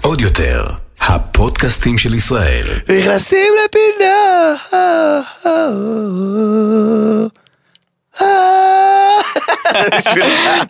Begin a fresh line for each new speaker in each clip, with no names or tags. עוד יותר, הפודקאסטים של ישראל.
נכנסים לפינה.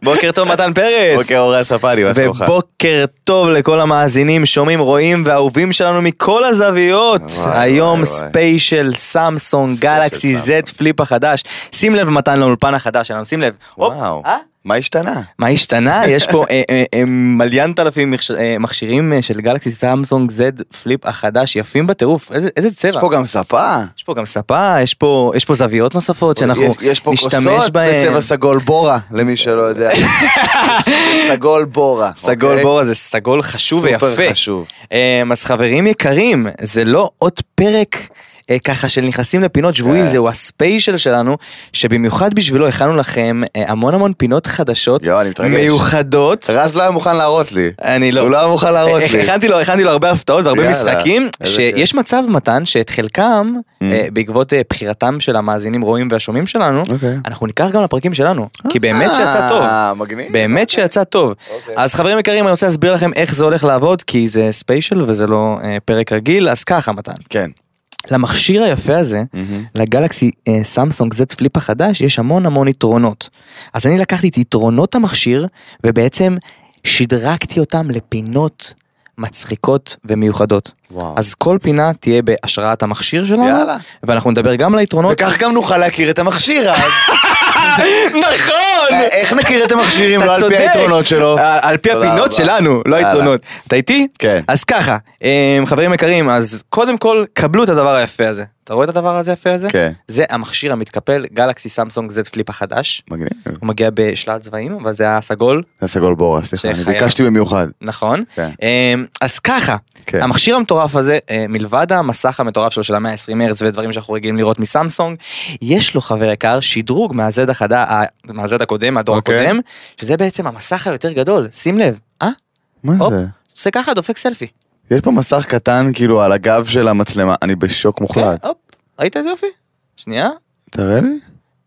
בוקר טוב מתן פרץ.
בוקר אורן ספני, מה שלומך?
ובוקר טוב לכל המאזינים, שומעים, רואים והאהובים שלנו מכל הזוויות.
וואי,
היום
וואי, וואי.
ספיישל סמסונג
ספיישל
גלקסי Z
סמסונג.
פליפ החדש. שים לב מתן לאולפן החדש שלנו, שים לב. הופ,
וואו,
אה?
מה השתנה?
מה השתנה? יש פה אה, אה, אה, מליינט אלפים מכש- אה, מכשירים אה, של גלקסי סמסונג Z פליפ החדש יפים בטירוף. איזה- איזה צבע.
יש פה גם ספה.
יש פה גם ספה, יש פה, יש פה זוויות נוספות שאנחנו
יש- יש פה
נשתמש
כוסות
בהן.
בצבע סגול בורה, למי שלא יודע. סגול בורה.
סגול
אוקיי?
בורה זה סגול חשוב ויפה.
סופר חשוב.
אמ, אז חברים יקרים, זה לא עוד פרק אה, ככה של נכנסים לפינות שבועי,
כן.
זהו הספיישל שלנו, שבמיוחד בשבילו הכנו לכם אה, המון המון פינות חדשות,
יואו, אני מתרגש.
מיוחדות.
רז לא היה מוכן להראות לי.
אני לא.
הוא לא היה מוכן להראות
הכ-
לי.
הכנתי לו, הכנתי לו הרבה הפתעות והרבה
יאללה,
משחקים,
איזה כיף.
שיש מצב מתן שאת חלקם,
Mm.
אה, בעקבות אה, בחירתם של המאזינים רואים והשומעים שלנו,
אוקיי.
אנחנו ניקח גם לפרקים שלנו, כי באמת שיצא טוב.
אה, מגניב.
באמת שיצא טוב.
אוקיי.
אז חברים יקרים, אני רוצה להסביר לכם איך זה הולך לעבוד, כי זה ספיישל וזה לא אה, פרק רגיל, אז ככה מתן.
כן.
למכשיר היפה הזה, לגלקסי אה, סמסונג Z פליפ החדש, יש המון המון יתרונות. אז אני לקחתי את יתרונות המכשיר, ובעצם שדרגתי אותם לפינות מצחיקות ומיוחדות.
וואו.
אז כל פינה תהיה בהשראת המכשיר שלנו,
יאללה.
ואנחנו נדבר גם על היתרונות.
וכך גם נוכל להכיר את המכשיר אז.
נכון!
איך נכיר את המכשיר אם
אתה
לא על פי
צודק.
היתרונות שלו?
אה, על פי
תודה
הפינות
רבה.
שלנו, לא
יאללה.
היתרונות. אתה איתי?
כן.
אז ככה, אה, חברים יקרים, אז קודם כל, קבלו את הדבר היפה הזה. אתה רואה את הדבר הזה יפה הזה?
כן.
זה המכשיר המתקפל, גלקסי סמסונג Z פליפ החדש.
מגניב.
הוא מגיע בשלל צבעים, אבל זה הסגול,
זה סגול בורה, אה, סליחה, אני
שחייב.
ביקשתי במיוחד.
נכון?
כן.
אה, אז ככה,
כן.
המכשיר המטורף הזה, אה, מלבד המסך המטורף שלו של המאה ה-20 מרץ ודברים שאנחנו רגילים לראות מסמסונג, יש לו חבר יקר שדרוג מהזד החדה, ה- מהזד הקודם, הדור
אוקיי.
הקודם, שזה בעצם המסך היותר גדול, שים לב, אה?
מה
הופ.
זה?
עושה ככה, דופק סלפי.
יש פה מסך קטן כאילו על הגב של המצלמה, אני בשוק מוחלט.
כן, הופ, ראית איזה יופי? שנייה.
תראה לי.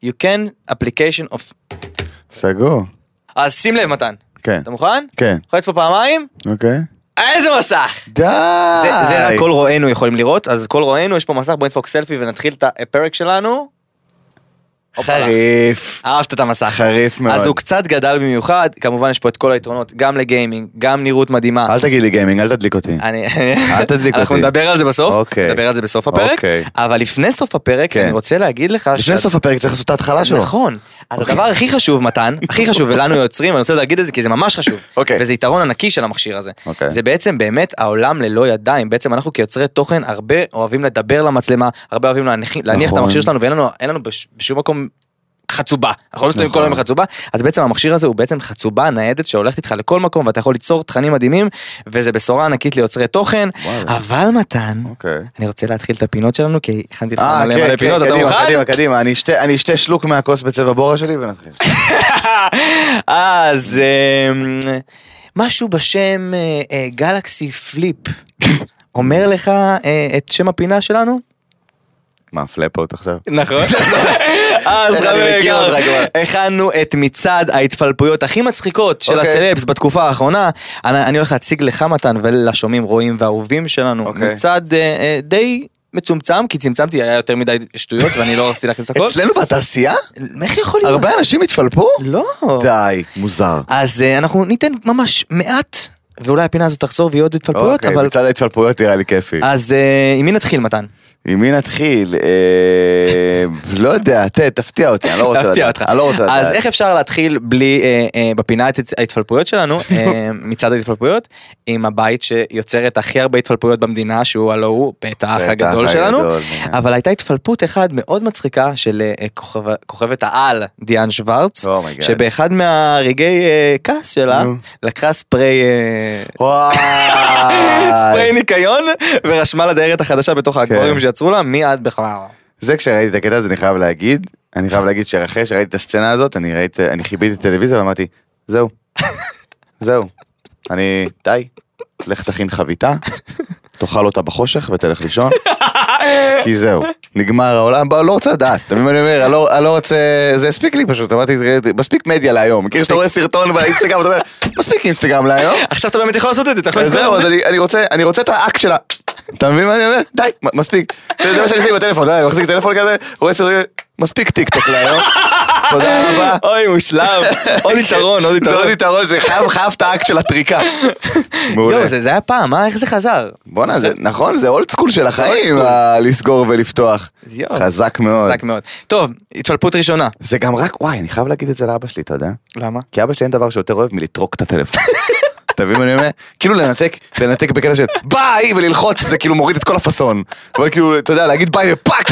You can application of...
סגור.
אז שים לב מתן,
כן.
אתה מוכן?
כן.
יכול לצפות פעמיים?
אוקיי.
איזה מסך!
די!
זה, זה רק כל רואינו יכולים לראות, אז כל רואינו יש פה מסך, בוא נדפוק סלפי ונתחיל את הפרק שלנו. הופלה.
חריף.
אהבת את המסך.
חריף מאוד.
אז הוא קצת גדל במיוחד, כמובן יש פה את כל היתרונות, גם לגיימינג, גם נראות מדהימה.
אל תגיד לי גיימינג, אל תדליק אותי.
אני...
אל תדליק
אנחנו
אותי.
נדבר על זה בסוף,
אוקיי.
נדבר על זה בסוף הפרק,
אוקיי.
אבל לפני סוף הפרק
כן.
אני רוצה להגיד לך
לפני
שאת-
סוף הפרק צריך לעשות את ההתחלה שלו.
נכון. אז
אוקיי.
הדבר הכי חשוב, מתן, הכי חשוב, ולנו יוצרים, אני רוצה להגיד את זה כי זה ממש חשוב.
אוקיי.
וזה יתרון ענקי של המכשיר הזה.
אוקיי.
זה בעצם באמת העולם ללא ידיים. בעצם אנחנו כיוצרי תוכן הרבה אוהבים לדבר למצלמה, הרבה אוהבים להניח- להניח את
נכון.
המכשיר שלנו, ואין לנו- אין לנו בש- בשום מקום... חצובה, אנחנו לא מסתובבים כל
נכון.
היום עם חצובה, אז בעצם המכשיר הזה הוא בעצם חצובה ניידת שהולכת איתך לכל מקום ואתה יכול ליצור תכנים מדהימים וזה בשורה ענקית ליוצרי תוכן,
וואלה.
אבל מתן,
אוקיי.
אני רוצה להתחיל את הפינות שלנו כי הכנתי לך
אה,
מלא
כן,
מלא
כן,
פינות, אתה
קדימה,
מוכן?
קדימה, קדימה, אני אשתה- אני אשתה שלוק מהכוס בצבע בורה שלי ונתחיל.
אז אמ, משהו בשם אה, אה, גלקסי פליפ אומר לך אה, את שם הפינה שלנו?
מה, פלאפות עכשיו?
נכון. אז
איך אני
חברים,
מכיר אותך כבר?
הכנו את מצעד ההתפלפויות הכי מצחיקות של
אוקיי.
הסלבס בתקופה האחרונה. אני אני הולך להציג לך מתן ולשומעים רואים והאהובים שלנו
אוקיי.
מצעד אה, אה, די מצומצם כי צמצמתי היה יותר מדי שטויות ואני לא רציתי להכניס הכל.
אצלנו בתעשייה?
איך יכול להיות?
הרבה אנשים התפלפו?
לא.
די, מוזר.
אז אה, אנחנו ניתן ממש מעט, ואולי הפינה הזאת תחזור ויהיו עוד התפלפויות,
אוקיי,
אבל...
מצד ההתפלפויות נראה לי כיפי.
אז אה, עם מי נתחיל מתן?
עם מי נתחיל? אה, לא יודע, ת- תפתיע אותי, אני לא רוצה
אפתיע
לדעת.
אותך.
אני לא רוצה לדעת.
אז איך אפשר להתחיל בלי, אה, אה, בפינה את ההתפלפויות שלנו, אה, מצד ההתפלפויות, עם הבית שיוצר את הכי הרבה התפלפויות במדינה, שהוא הלא הוא, בית האח
בית
הגדול
האח
שלנו,
הגדול, כן.
אבל הייתה התפלפות אחת מאוד מצחיקה של אה, כוכב- כוכבת העל דיאן שוורץ,
אומייגאד.
שבאחד מהרגעי אה, כעס שלה,
Oh נו.
לקחה ספרי... אה,
וואי.
ספרי ניקיון ורשמה לדיירת החדשה בתוך
כן.
האקווריום שיצרו לה מי את בכלל.
זה כשראיתי את הקטע הזה אני חייב להגיד, אני חייב להגיד שאחרי שראיתי את הסצנה הזאת, אני ראיתי, אני כיביתי את הטלוויזיה ואמרתי, זהו, זהו, אני, די, לך תכין חביתה, תאכל אותה בחושך ותלך לישון, כי זהו, נגמר העולם, בוא, לא רוצה לדעת, אתה מבין מה אני אומר, אני לא- אני לא רוצה, זה הספיק לי פשוט, אמרתי, "תראה, מספיק מדיה להיום, מכיר שאתה רואה סרטון באינסטגרם, אתה אומר, מספיק אינסטגרם להיום,
עכשיו אתה באמת יכול לעשות את זה, אתה יכול
אז כן, זהו,
לעשות
אז
את זה.
אני- אני רוצה, אני רוצה את האק שלה. אתה מבין מה אני אומר? די, מ- מספיק. זה זה מה שאני עושה עם הטלפון, די, אני מחזיק טלפון כזה, רואה סרטון, מספיק טיק טוק להיום. תודה רבה.
אוי, מושלם. עוד יתרון, עוד
זה
יתרון.
עוד יתרון, זה חייב, חייב את האקט של הטריקה. מעולה.
יואו, זה זה היה פעם, אה? איך זה חזר?
בואנה, זה נכון, זה אולד סקול של החיים,
school.
ה- לסגור ולפתוח.
אז יואו.
חזק מאוד.
חזק מאוד. טוב, התפלפות ראשונה.
זה גם רק, וואי, אני חייב להגיד את זה לאבא שלי, אתה יודע?
למה?
כי אבא שלי אין דבר שיותר אוהב מלטרוק את הטלפון. אתה מבין מה אני אומר? כאילו לנתק, לנתק בקטע של ביי וללחוץ זה כאילו מוריד את כל הפאסון. אבל כאילו, אתה יודע, להגיד ביי ופאק!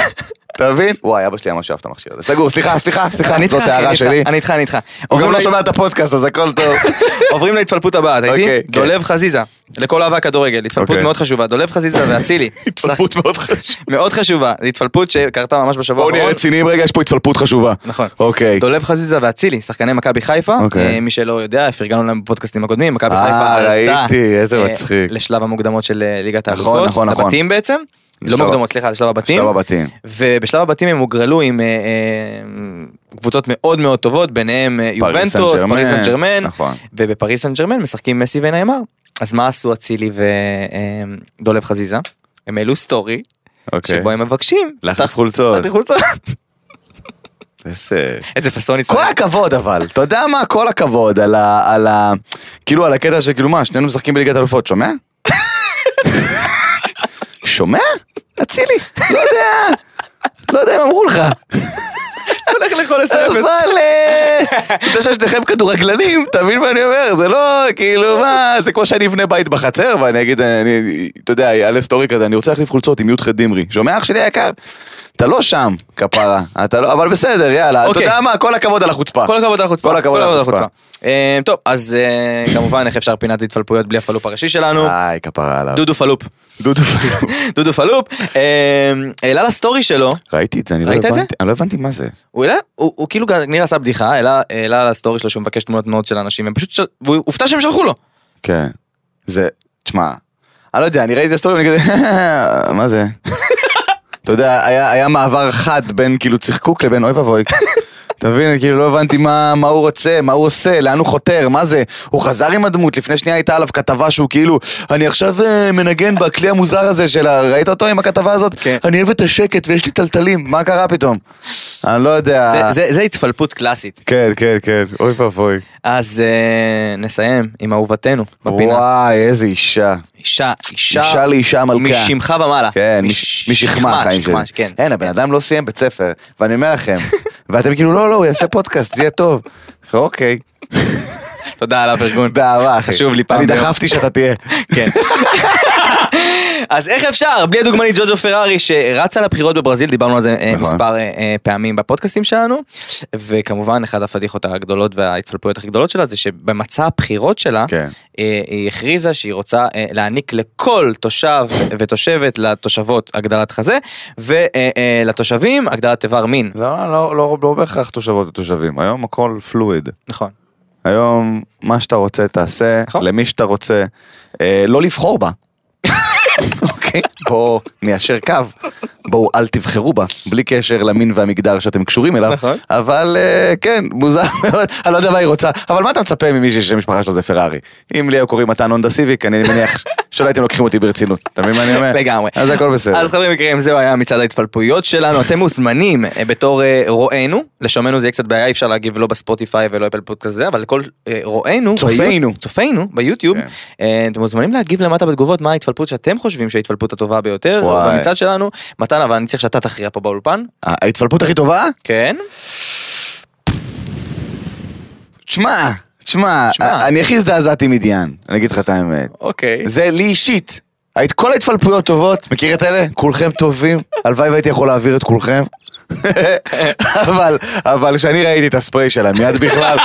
אתה מבין? וואי, אבא שלי ממש אהב את המכשיר הזה. סגור, סליחה, סליחה,
אני
סליחה,
איתך,
זאת
אחי, אני
הערה
איתך,
שלי.
אני איתך, אני איתך.
הוא
עוברים
גם לא
לה-
שומע את הפודקאסט, אז הכל טוב.
עוברים להתפלפות הבאה, אתה
אוקיי,
איתי?
כן.
דולב חזיזה, לכל אהבה כדורגל, התפלפות
אוקיי.
מאוד חשובה. דולב חזיזה ואצילי.
התפלפות מאוד חשובה.
מאוד חשובה, זו התפלפות שקרתה ממש בשבוע
בואו נהיה
האחרון.
רציניים רגע, יש פה התפלפות חשובה.
נכון.
אוקיי.
דולב חזיזה ואצילי, שחקני מכבי חיפה.
אוקיי.
אה, מי שלא יודע, פרגנו להם בפודקאסטים הקודמים, מכבי
אה,
חיפה עלתה.
ראיתי, איזה
אה,
מצחיק.
לשלב המוקדמות של אה, ליגת
נכון,
האלופות.
נכון, נכון.
לבתים בעצם. לא
לשלב-
מוקדמות, סליחה, לשלב הבתים.
שלב הבתים.
ובשלב הבתים הם הוגרלו עם אה, אה, קבוצות מאוד מאוד טובות, ביניהם אה,
פריס סן
יובנטוס,
ג'רמן,
פריס סן ג'רמן,
נכון.
ובפריס סן ג'רמן משחקים מסי ונאמר. אז מה עשו אצילי ודולב חזיזה? הם העלו סטורי,
אוקיי.
שבו הם מבקשים.
להחליף חולצות.
להחליף חולצות.
איזה...
איזה פאסון ישראל.
כל הכבוד אבל, אתה יודע מה? כל הכבוד על ה... על ה... כאילו על הקטע שכאילו מה, שנינו משחקים בליגת אלופות, שומע? שומע? אצילי, לא יודע, לא יודע אם אמרו לך.
הולך לכל
אבל
הסרפס.
אה, זה ששניכם כדורגלנים, אתה מבין מה אני אומר? זה לא כאילו מה, זה כמו שאני אבנה בית בחצר ואני אגיד, אה, אני, אתה יודע, יעלה סטורי כזה, אני רוצה להחליף חולצות עם י"ח דמרי. שומע אח שלי היקר? אתה לא שם, כפרה, אתה לא, אבל בסדר, יאללה, אתה
אוקיי.
יודע מה, כל הכבוד על החוצפה.
כל הכבוד על החוצפה.
כל הכבוד על החוצפה.
אה, טוב, אז אה, כמובן איך אפשר פינת התפלפויות בלי הפלופ הראשי שלנו.
איי, כפרה עליו.
דודו פלופ.
דודו.
דודו פלופ. אה, העלה לסטורי שלו.
ראיתי את זה, אני לא
ראית את
הבנתי,
זה?
אני לא הבנתי מה זה.
הוא העלה, הוא, הוא כאילו גם נראה עשה בדיחה, העלה, העלה לסטורי שלו שהוא מבקש תמונות מאוד של אנשים, הם פשוט, ש... והוא הופתע שהם שלחו לו.
כן. זה, תשמע, אני לא יודע, אני ראיתי את הסטורי ואני כזה, מה זה? אתה יודע, היה, היה מעבר חד בין כאילו צחקוק לבין אוי ואבוי. אתה מבין, כאילו לא הבנתי מה, מה הוא רוצה, מה הוא עושה, לאן הוא חותר, מה זה. הוא חזר עם הדמות, לפני שנייה הייתה עליו כתבה שהוא כאילו, אני עכשיו אה, מנגן בכלי המוזר הזה של ה... ראית אותו עם הכתבה הזאת?
כן.
אני אוהב את השקט ויש לי טלטלים, מה קרה פתאום? אני לא יודע.
זה, זה, זה התפלפות קלאסית.
כן, כן, כן, אוי ואבוי.
אז אה, נסיים עם אהובתנו בפינה.
וואי, איזה אישה.
אישה, אישה,
אישה לאישה מלכה.
משמך ומעלה.
כן, מש-
אה, מש-
משכמה החיים שלי.
שכמה, כן.
אין, הבן אדם לא סיים בית ספר, ואני אומר לכם, ואתם כאילו, לא, לא, הוא יעשה פודקאסט, זה יהיה טוב. אוקיי,
תודה על הפרגון.
באהבה, אחי.
חשוב לי פעם
אני
ביום.
דחפתי שאתה תהיה.
כן. אז איך אפשר? בלי הדוגמנית ג'וג'ו פרארי שרצה לבחירות בברזיל, דיברנו על זה אה,
נכון.
מספר אה, אה, פעמים בפודקאסטים שלנו, וכמובן אחת הפדיחות הגדולות וההתפלפויות הכי גדולות שלה זה שבמצע הבחירות שלה,
כן.
אה, היא הכריזה שהיא רוצה אה, להעניק לכל תושב ותושבת, לתושבות הגדלת חזה, ולתושבים הגדלת איבר מין.
לא, לא, לא, לא בהכרח תושבות ותושבים, היום הכל פלואיד.
נכון.
היום, מה שאתה רוצה תעשה,
נכון.
למי שאתה רוצה, אה, לא לבחור בה. אוקיי, בואו ניישר קו, בואו אל תבחרו בה, בלי קשר למין והמגדר שאתם קשורים אליו,
נכון.
אבל אה, כן, מוזר מאוד, אני לא יודע מה היא רוצה, אבל מה אתה מצפה ממישהי שם משפחה שלו זה פרארי? אם לי היו קוראים מתן הונדה סיביק, אני מניח שלא הייתם לוקחים אותי ברצינות, אתה מבין מה אני אומר?
לגמרי.
אז הכל בסדר.
אז חברים יקרים, זהו היה מצעד ההתפלפויות שלנו, אתם מוזמנים אה, בתור אה, רואינו, לשומנו זה יהיה קצת בעיה, אי אפשר להגיב לא בספוטיפיי ולא אפל פודקאסט זה, אבל לכל אה, רואינו,
צופינו.
ביוט- צופינו ביוטיוב,
כן.
אה, אתם מוזמנים להגיב למטה בתגובות מה ההתפלפות שאתם חושבים שהיא ההתפלפות הטובה ביותר,
וואי.
במצעד שלנו, מתן אבל אני צריך שאתה תכריע פה באולפן,
ההתפלפות הכי טובה?
כן,
תשמע, תשמע,
תשמע.
אני הכי הזדעזעתי מדיאן, אני אגיד לך את האמת.
אוקיי,
זה לי אישית. היית כל ההתפלפויות טובות, מכיר את אלה? כולכם טובים, הלוואי והייתי יכול להעביר את כולכם. אבל, אבל כשאני ראיתי את הספרי שלהם, מיד בכלל,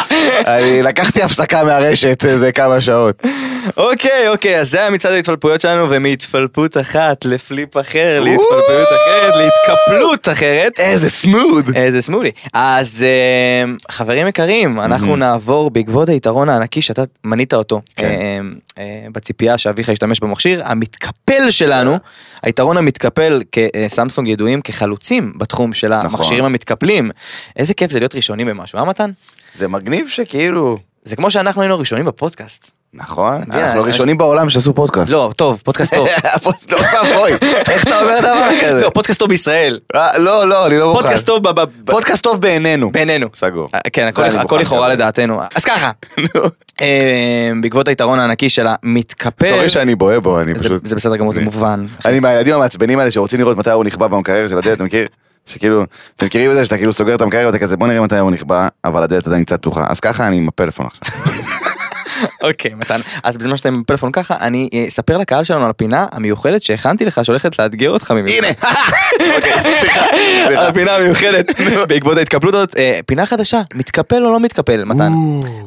אני לקחתי הפסקה מהרשת איזה כמה שעות.
אוקיי, אוקיי, אז זה היה מצעד ההתפלפויות שלנו, ומהתפלפות אחת לפליפ אחר, להתפלפלות אחרת, להתקפלות אחרת.
איזה סמוד!
איזה אה, סמולי. אז אה, חברים יקרים, אנחנו נעבור בעקבות היתרון הענקי שאתה מנית אותו,
כן.
אה, אה, בציפייה שאביך ישתמש במכשיר, המתקפל שלנו, היתרון המתקפל כסמסונג ידועים כחלוצים בתחום של
נכון.
המכשירים המתקפלים. איזה כיף זה להיות ראשונים במשהו, אה מתן?
זה מגניב שכאילו...
זה כמו שאנחנו היינו ראשונים בפודקאסט.
נכון,
יודע,
אנחנו
אני-
ראשונים בעולם שעשו פודקאסט.
לא, טוב, פודקאסט טוב.
הפוד- לא, אוי, איך אתה אומר דבר כזה?
לא, פודקאסט טוב בישראל.
אה, לא, לא, אני לא מוכן.
פודקאסט טוב ב- ב- ב-
פודקאסט טוב בעינינו.
בעינינו.
סגור.
אה, כן, הכל-
זה אני
הכל
מוכן
לכאורה
לקבל.
לדעתנו. אז ככה, אה, בעקבות היתרון הענקי של המתקפל.
סורי שאני בוהה בו, אני
זה-
פשוט...
זה בסדר גמור, זה
אני-
מובן.
אני מהילדים המעצבנים האלה שרוצים לראות מתי הוא נכבה במקרר של הדלת, אתה מכיר? שכאילו, אתם מכירים את זה שאתה כאילו סוגר את המקרר ואתה כזה בוא נראה מתי הוא נכבה, אבל הדלת עדיין קצת פתוחה, אז ככה אני עם הפלאפון עכשיו.
אוקיי, מתן. אז בזמן שאתם עם הפלאפון ככה, אני אה, אספר לקהל שלנו על הפינה המיוחדת שהכנתי לך, שהולכת לאתגר אותך ממך.
הנה! אוקיי, סליחה, סליחה.
הפינה המיוחדת בעקבות ההתקפלות הזאת, אה, פינה חדשה, מתקפל או לא מתקפל, מתן.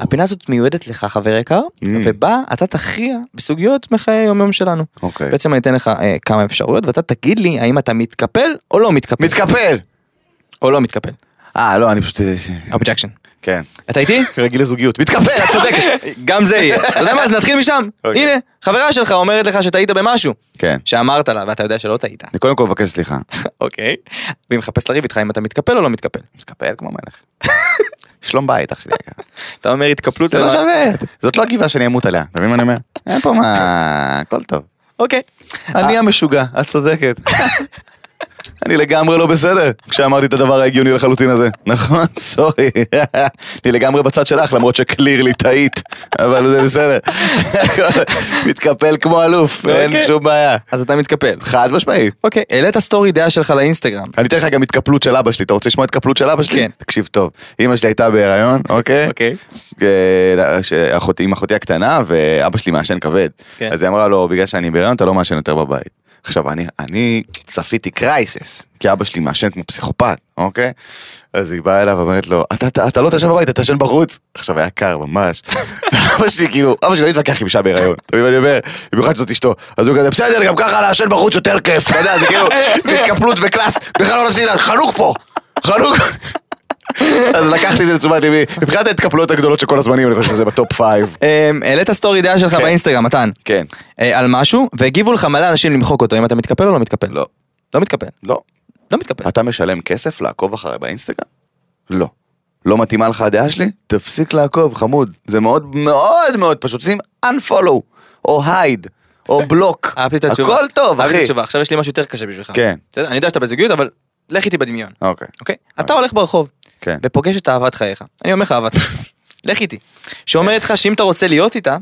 הפינה הזאת מיועדת לך חבר יקר,
Mm.
ובה אתה תכריע בסוגיות מחיי היום-יום שלנו.
אוקיי.
בעצם אני אתן לך אה, כמה אפשרויות ואתה תגיד לי האם אתה מתקפל או לא מתקפל.
מתקפל!
או לא מתקפל.
אה, לא, אני פשוט...
אובג'קשן.
כן.
אתה איתי?
רגיל לזוגיות. מתקפל, את צודקת!
גם זה יהיה. אתה יודע מה, אז נתחיל משם.
אוקיי.
הנה, חברה שלך אומרת לך שטעית במשהו.
כן.
שאמרת לה, ואתה יודע שלא טעית.
אני קודם כל מבקש סליחה.
אוקיי. והיא מחפשת לריב איתך אם אתה מתקפל או לא מתקפל.
מתקפל כמו מלך. שלום בית, אח שלי היקר.
אתה אומר התקפלות.
זה לא
למה-
שווה, זאת לא הגבעה שאני אמות עליה, אתה מבין מה אני אומר? אין פה מה, הכל טוב.
אוקיי.
אני המשוגע, את צודקת. אני לגמרי לא בסדר, כשאמרתי את הדבר ההגיוני לחלוטין הזה. נכון, סורי. אני לגמרי בצד שלך, למרות שקלירלי טעית, אבל זה בסדר. מתקפל כמו אלוף, אין
אוקיי.
שום בעיה.
אז אתה מתקפל.
חד משמעית.
אוקיי, העלית סטורי דעה שלך לאינסטגרם.
אני אתן לך גם התקפלות של אבא שלי, אתה רוצה לשמוע התקפלות של אבא שלי?
כן.
תקשיב טוב, אמא שלי הייתה בהיריון, אוקיי?
אוקיי.
אה, שאחותי- עם אחותי הקטנה ואבא שלי מעשן כבד.
כן.
אז היא אמרה לו, בגלל שאני בהיריון אתה לא מעשן יותר בבית. עכשיו אני, אני צפיתי קרייסס, כי אבא שלי מעשן כמו פסיכופת, אוקיי? אז היא באה אליו ואומרת לו, אתה, אתה, אתה לא תעשן בבית, אתה תעשן בחוץ. עכשיו היה קר ממש. אבא שלי כאילו, אבא שלי לא התווכח עם אישה בהיריון, אתה מבין מה אני אומר? במיוחד שזאת אשתו. אז הוא כזה, בסדר, גם ככה לעשן בחוץ יותר כיף, אתה יודע, זה כאילו, זה התקפלות בקלאס, בכלל לא נעשית, חנוק פה, חנוק. אז לקחתי את זה לתשומת ליבי, מבחינת ההתקפלויות הגדולות של כל הזמנים, אני חושב שזה בטופ פייב.
אמ, העלית סטורי דעה שלך
כן.
באינסטגרם, מתן.
כן.
אה, על משהו, והגיבו לך מלא אנשים למחוק אותו, אם אתה מתקפל או לא מתקפל.
לא.
לא מתקפל.
לא.
לא מתקפל.
אתה משלם כסף לעקוב אחרי באינסטגרם? לא. לא מתאימה לך הדעה שלי? תפסיק לעקוב, חמוד. זה מאוד מאוד מאוד פשוט. שים unfollow, או hide, או block.
אהבתי את התשובה.
הכל טוב,
אהבתי את
אחי.
התשובה, עכשיו יש לי משהו יותר קשה בשבילך.
כן.
בסדר, אני יודע שאתה בזוגיות, אבל לך איתי בדמיון,
אוקיי.
אוקיי? אתה הולך ברחוב,
כן.
ופוגש את אהבת חייך. אני אומר לך אהבת חייך. לך איתי. שאומרת לך שאם אתה רוצה להיות איתה,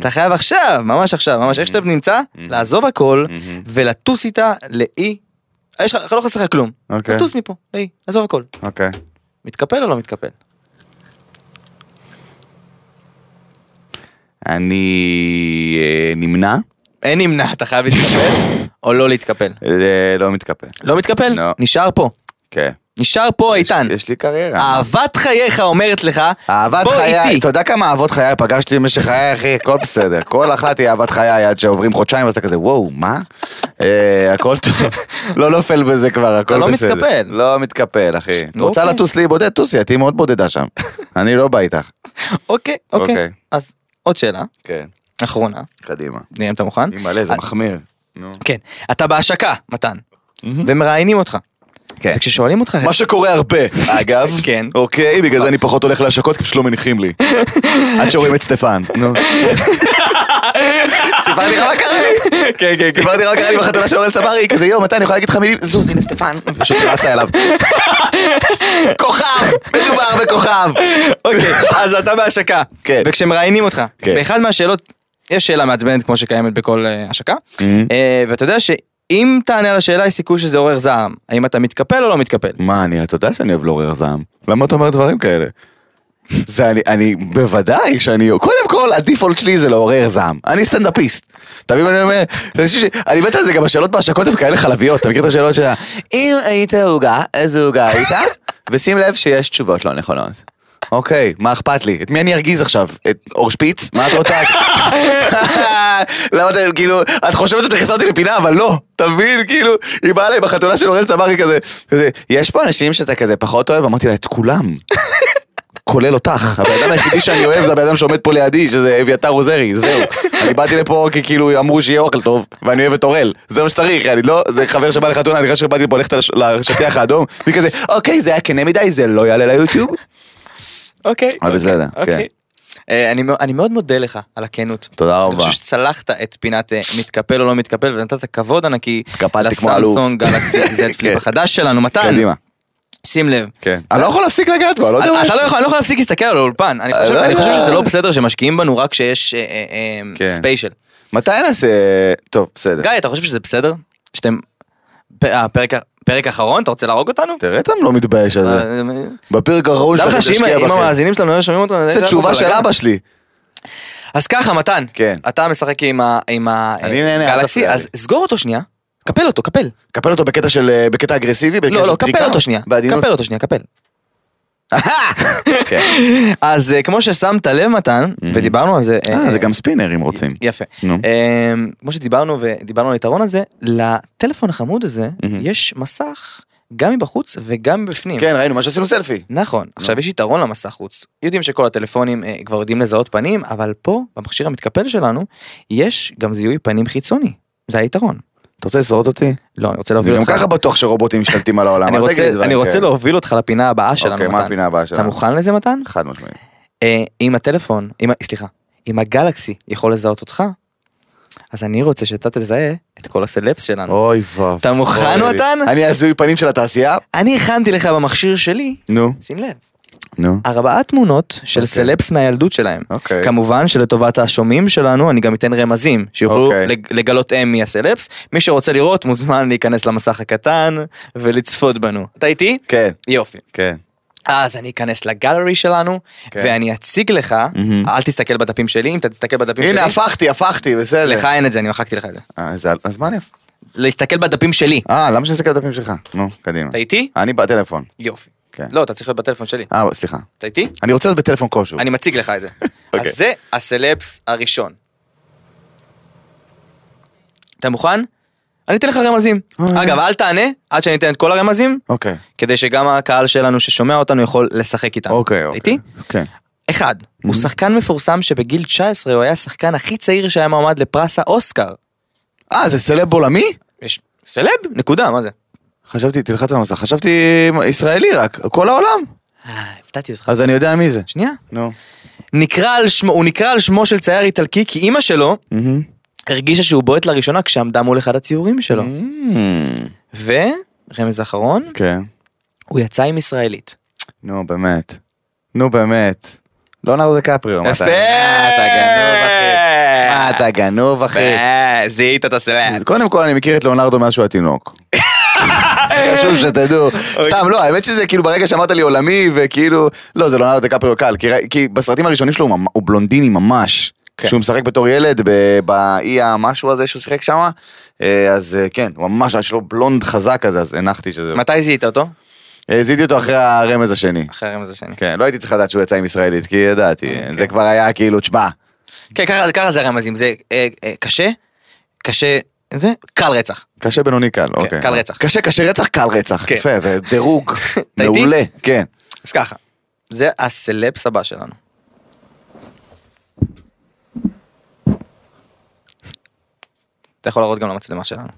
אתה חייב עכשיו, ממש עכשיו, ממש איך שאתה נמצא, לעזוב הכל, ולטוס איתה לאי. יש לך, לא חסר לך כלום.
אוקיי.
לטוס מפה, לאי, עזוב הכל.
אוקיי.
מתקפל או לא מתקפל?
אני אה, נמנע,
אין נמנע, אתה חייב להתקפל או לא להתקפל.
אה, לא מתקפל.
לא מתקפל?
לא.
נשאר פה.
כן.
נשאר פה לא, איתן. אה,
יש לי קריירה.
אהבת חייך אומרת לך,
אהבת
בוא
חיי,
איתי.
אתה יודע כמה אהבות חיי פגשתי במשך חיי, אחי, הכל בסדר. כל אחת היא אהבת חיי עד שעוברים חודשיים, אז אתה כזה, וואו, מה? אה, הכל טוב. לא נופל בזה כבר, הכל
לא
בסדר.
מתקפל.
לא מתקפל, אחי. רוצה
אוקיי.
לטוס לי בודד, טוסי, את תהיי מאוד בודדה שם. אני לא בא איתך.
אוקיי,
אוקיי.
אוקיי. אז עוד שאלה,
כן,
אחרונה,
קדימה. אה,
נראה אם אתה מוכן.
אימא'לה, זה מחמיר. נו.
כן. אתה בהשקה, מתן, ומראיינים אותך.
כן.
וכששואלים אותך,
מה שקורה הרבה, אגב.
כן.
אוקיי, בגלל זה אני פחות הולך להשקות, כי פשוט לא מניחים לי. עד שרואים את סטפן. נו. סיפרתי לך מה קרה לי?
כן, כן, כן.
סיפרתי רק לי בחתונה של אורל צברי, כזה יום, מתי אני יכולה להגיד לך מילים? זוז, הנה סטפן. פשוט רצה אליו. כוכב! מדובר בכוכב!
אוקיי, אז אתה בהשקה.
כן.
וכשמראיינים אותך,
כן.
באחד מהשאלות, יש שאלה מעצבנת כמו שקיימת בכל אה, השקה, אה, ואתה יודע שאם תענה על השאלה יש סיכוי שזה עורר זעם. האם אתה מתקפל או לא מתקפל?
מה, אני, אתה יודע שאני אוהב לעורר זעם. למה אתה אומר דברים כאלה? זה אני, אני, בוודאי שאני, קודם כל הדיפולט שלי זה לעורר זעם, אני סטנדאפיסט. אתה מבין מה אני אומר? אני חושב ש- אני מת על זה, גם השאלות בהשקות הן כאלה חלביות, אתה מכיר את השאלות של ה- אם היית עוגה, איזה עוגה היית? ושים לב שיש תשובות לא נכונות. אוקיי, מה אכפת לי? את מי אני ארגיז עכשיו? את אור שפיץ? מה את רוצה? למה אתה, כאילו, את חושבת שאת מכניסה אותי לפינה, אבל לא, אתה מבין, כאילו, היא באה אליי בחתונה של אורל צברי כזה, כזה, יש פה אנשים שאתה כזה פחות אוהב? אמרתי לה, את כולם. כולל אותך. הבן אדם היחידי שאני אוהב זה הבן אדם שעומד פה לידי, שזה אביתר עוזרי, זהו. אני באתי לפה כי כאילו אמרו שיהיה אוכל טוב, ואני אוהב את אוראל. זה מה שצריך, אני לא, זה חבר שבא לחתונה, אני חושב שבאתי לפה ללכת לש- לשטיח האדום, והיא כזה, אוקיי, זה היה כנה מדי, זה לא יעלה ליוטיוב.
אוקיי.
אבל בסדר, כן.
אה, אני מאו- אני מאוד מודה לך על הכנות.
תודה
אני
רבה.
חושב שצלחת את פינת אה, מתקפל או לא מתקפל ונתת כבוד ענקי
התקפלתי כמו אלוף.
לסמסונג גלקסי זד פליפ
כן.
החדש שלנו. מתן,
קדימה.
שים לב.
כן. אני לא יכול להפסיק לגעת בו, אני לא יודע מה
אתה
יש
לא
לי.
יכול, אני לא יכול להפסיק להסתכל על האולפן. אני
אה,
חושב-
לא
אני חושב
יודע.
שזה לא בסדר שמשקיעים בנו רק כשיש אה, אה, אה,
כן.
ספיישל.
מתי נעשה... טוב, בסדר.
גיא, אתה חושב שזה בסדר? שאתם... פ- הפרק ה- פרק האחרון? אתה רוצה להרוג אותנו?
תראה אתה לא מתבייש על זה.
אה,
בפרק האחרון
דע
שלך
לך שאם
תשקיע
אם
בכם.
המאזינים שלנו היו שומעים אותנו...
זה תשובה של אבא שלי.
אז ככה, מתן.
כן.
אתה משחק עם ה- עם
אני נהנה, אל
הגלקסי,
תפריע
אז סגור אותו שנייה. קפל אותו, קפל.
קפל אותו בקטע של... אה, בקטע אגרסיבי? בקטע
לא,
של
לא, קפל
טריקה?
אותו שנייה.
בעדינות?
קפל אותו שנייה, קפל.
כן.
אז אה, כמו ששמת לב, מתן, ודיברנו על זה...
אה, כן,
אה,
זה גם ספינר אם רוצים.
יפה.
נו.
אה, כמו שדיברנו ודיברנו על היתרון הזה, לטלפון החמוד הזה
מהמם.
יש מסך גם מבחוץ וגם מבפנים.
כן, ראינו מה שעשינו סלפי.
נכון, עכשיו יש יתרון למסך חוץ. יודעים שכל הטלפונים אה, כבר יודעים לזהות פנים, אבל פה, במכשיר המתקפל שלנו, יש גם זיהוי פנים חיצוני. זה היתרון.
אתה רוצה לשרוד אותי?
לא, אני רוצה להוביל
וגם
אותך.
ככה בטוח שרובוטים משתלטים על העולם.
אני
אל תגיד
רוצה,
לי דברים
אני רוצה
כאלה.
להוביל אותך לפינה הבאה שלנו,
אוקיי, מה
מתן.
הפינה הבאה שלנו?
אתה מוכן לזה, מתן?
חד משמעית.
אה, אם הטלפון, אם ה- סליחה, אם הגלקסי יכול לזהות אותך, אז אני רוצה שאתה תזהה את כל הסלפס שלנו.
אוי ואבוי.
אתה מוכן, מתן?
אני הזוי פנים של התעשייה?
אני הכנתי לך במכשיר שלי,
נו.
שים לב,
נו.
ארבעה תמונות של
אוקיי.
סלפס מהילדות שלהם.
אוקיי.
כמובן שלטובת השומעים שלנו אני גם אתן רמזים שיוכלו
אוקיי.
לג- לגלות הם מי הסלפס. מי שרוצה לראות מוזמן להיכנס למסך הקטן ולצפות בנו. אתה איתי?
כן,
יופי.
כן.
אז אני אכנס לגלרי שלנו
כן.
ואני אציג לך,
מהמם.
אל תסתכל בדפים שלי, אם אתה תסתכל בדפים שלי,
הנה, הפכתי, הפכתי, בסדר.
לך אין את זה, אני מחקתי לך את זה.
אה, אז- אז מה אני... אפ-
להסתכל בדפים שלי.
אה, למה שנסתכל על הדפים שלך? נו, קדימה.
אתה איתי?
אני בטלפון.
יופי.
כן.
לא, אתה צריך להיות בטלפון שלי.
אה, סליחה.
אתה איתי?
אני רוצה להיות בטלפון כלשהו.
אני מציג לך את זה.
אוקיי.
אז זה הסלפס הראשון. אתה מוכן? אני אתן לך רמזים.
אוי.
אגב, אל תענה עד שאני אתן את כל הרמזים,
אוקיי.
כדי שגם הקהל שלנו ששומע אותנו יכול לשחק איתנו.
אוקיי, אוקיי. Mm-hmm.
איתי?
כן.
אחד, הוא שחקן מפורסם שבגיל 19 הוא היה השחקן הכי צעיר שהיה מועמד לפרס האוסקר.
אה, זה סלב עולמי?
יש סלב? נקודה, מה זה?
חשבתי, תלחץ על המסך, חשבתי ישראלי רק, כל העולם.
אה, הפתעתי אותך.
אז אני יודע מי זה.
שנייה.
נו.
נקרא על שמו, הוא נקרא על שמו של צייר איטלקי כי אימא שלו הרגישה שהוא בועט לראשונה כשעמדה מול אחד הציורים שלו.
Mm.
ורמז אחרון,
כן.
הוא יצא עם ישראלית.
נו, באמת. נו, באמת. ליאונרדו דקפריו. מה אתה-
יפה!
מה אתה גנוב, אחי? מה אתה גנוב, אחי?
אה, זיהית את הסלאט.
אז קודם כל, אני מכיר את ליאונרדו מאז שהוא היה תינוק. חשוב שתדעו. סתם, לא, האמת שזה כאילו ברגע שאמרת לי עולמי, וכאילו... לא, זה ליאונרדו דקפריו קל, כי ראי- כי בסרטים הראשונים שלו הוא ממ- הוא בלונדיני ממש.
כן.
כשהוא משחק בתור ילד ב- באי המשהו הזה שהוא שיחק שם, אז אה, כן, הוא ממש, היה שלו בלונד חזק כזה, אז הנחתי שזה...
מתי זיהית אותו?
אה, זיהיתי אותו אחרי הרמז השני.
אחרי הרמז השני.
כן, לא הייתי צריך לדעת שהוא יצא עם ישראלית, כי ידעתי, זה כבר היה כאילו, תשמע,
כן, ככה- ככה זה הרמזים, זה אה, אה, קשה, קשה, זה קל רצח.
קשה בינוני קל, אוקיי.
כן, קל רצח.
קשה, קשה רצח, קל רצח,
כן.
יפה, ודירוג,
איתי?
מעולה, כן.
אז ככה, זה הסלפס הבא שלנו. אתה יכול להראות גם למצלמה שלנו.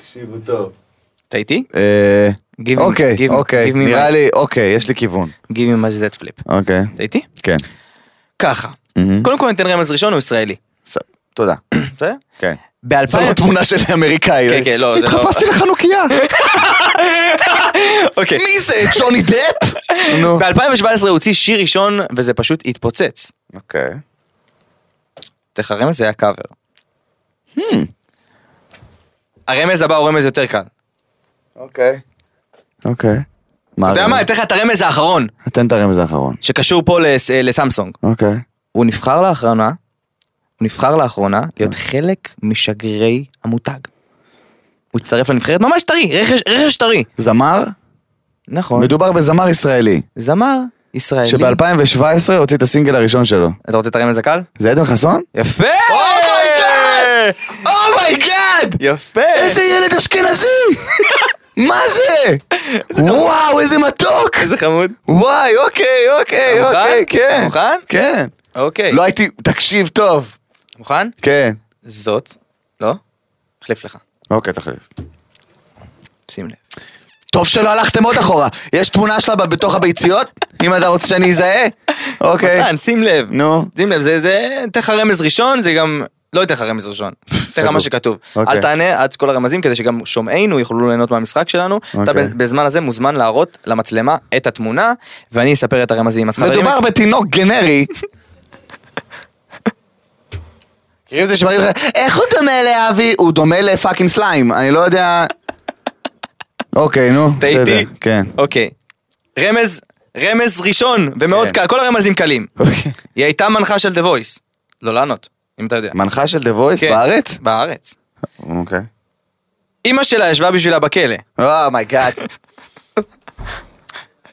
תקשיבו טוב.
אתה איתי? Give me-
אה, אוקיי,
give me-
אוקיי,
give me
נראה
my-
לי, אוקיי, יש לי כיוון.
Give me my Z flip.
אוקיי,
אתה איתי?
כן.
Mm-hmm. ככה.
מהמם.
קודם כל ניתן רמז ראשון, הוא ישראלי.
ס- תודה.
בסדר?
כן.
ב-2000...
זו לא תמונה של אמריקאי.
כן, כן, לא, זה לא-
התחפשתי לחנוכיה.
אוקיי.
מי זה? ג'וני דפ? נו.
ב-2017 הוא הוציא שיר ראשון, וזה פשוט התפוצץ.
אוקיי.
תכף הרמז זה היה קאבר. Hmm. הרמז הבא הוא רמז יותר קל.
אוקיי. אוקיי.
אתה יודע
הרמז?
מה, אני אתן לך את הרמז האחרון,
תן את הרמז האחרון.
שקשור פה לס- אה, לסמסונג.
אוקיי.
הוא נבחר לאחרונה, הוא נבחר לאחרונה להיות חלק משגרירי המותג. הוא הצטרף לנבחרת ממש טרי, רכש- רכש טרי.
זמר?
נכון.
מדובר בזמר ישראלי,
זמר ישראלי.
שב-2017 הוציא את הסינגל הראשון שלו.
אתה רוצה את הרמז הקל?
זה עדן חסון?
יפה!
Oh
Oh
אומייגאד! אומייגאד!
יפה!
Oh איזה ילד אשכנזי! מה זה? וואו, איזה מתוק!
איזה חמוד.
וואי, אוקיי, אוקיי,
אתה מוכן?
אוקיי, כן.
אתה מוכן?
כן.
אוקיי.
לא הייתי, תקשיב טוב.
אתה מוכן?
כן.
זאת. לא? מחליף לך.
אוקיי, תחליף.
שים לב.
טוב שלא הלכתם עוד אחורה. יש תמונה שלה ב- בתוך הביציות? אם אתה רוצה שאני אזהה? אוקיי.
מתן, אה, שים לב.
נו.
שים לב, זה, זה, אתן לך רמז ראשון, זה גם, לא אתן לך רמז ראשון. אתן לך
סגור.
מה שכתוב.
אוקיי.
אל תענה עד כל הרמזים כדי שגם שומעינו יוכלו ליהנות מהמשחק שלנו. אתה
אוקיי.
ב- בזמן הזה מוזמן להראות למצלמה את התמונה, ואני אספר את הרמזים. אז חברים,
מדובר בתינוק גנרי. מכירים את כאילו זה שמראים לך, איך הוא דומה לאבי? הוא דומה לפאקינג סליים, אני לא יודע... אוקיי, נו,
אתה איתי?
בסדר, כן.
אוקיי. רמז, רמז ראשון, ומאוד
כן.
קל, כל הרמזים קלים.
אוקיי.
היא הייתה מנחה של דה וויס. לא לענות, אם אתה יודע.
מנחה של דה וויס
כן.
בארץ?
בארץ.
אוקיי. Oh
אימא שלה ישבה בשבילה בכלא.
אומייגאד.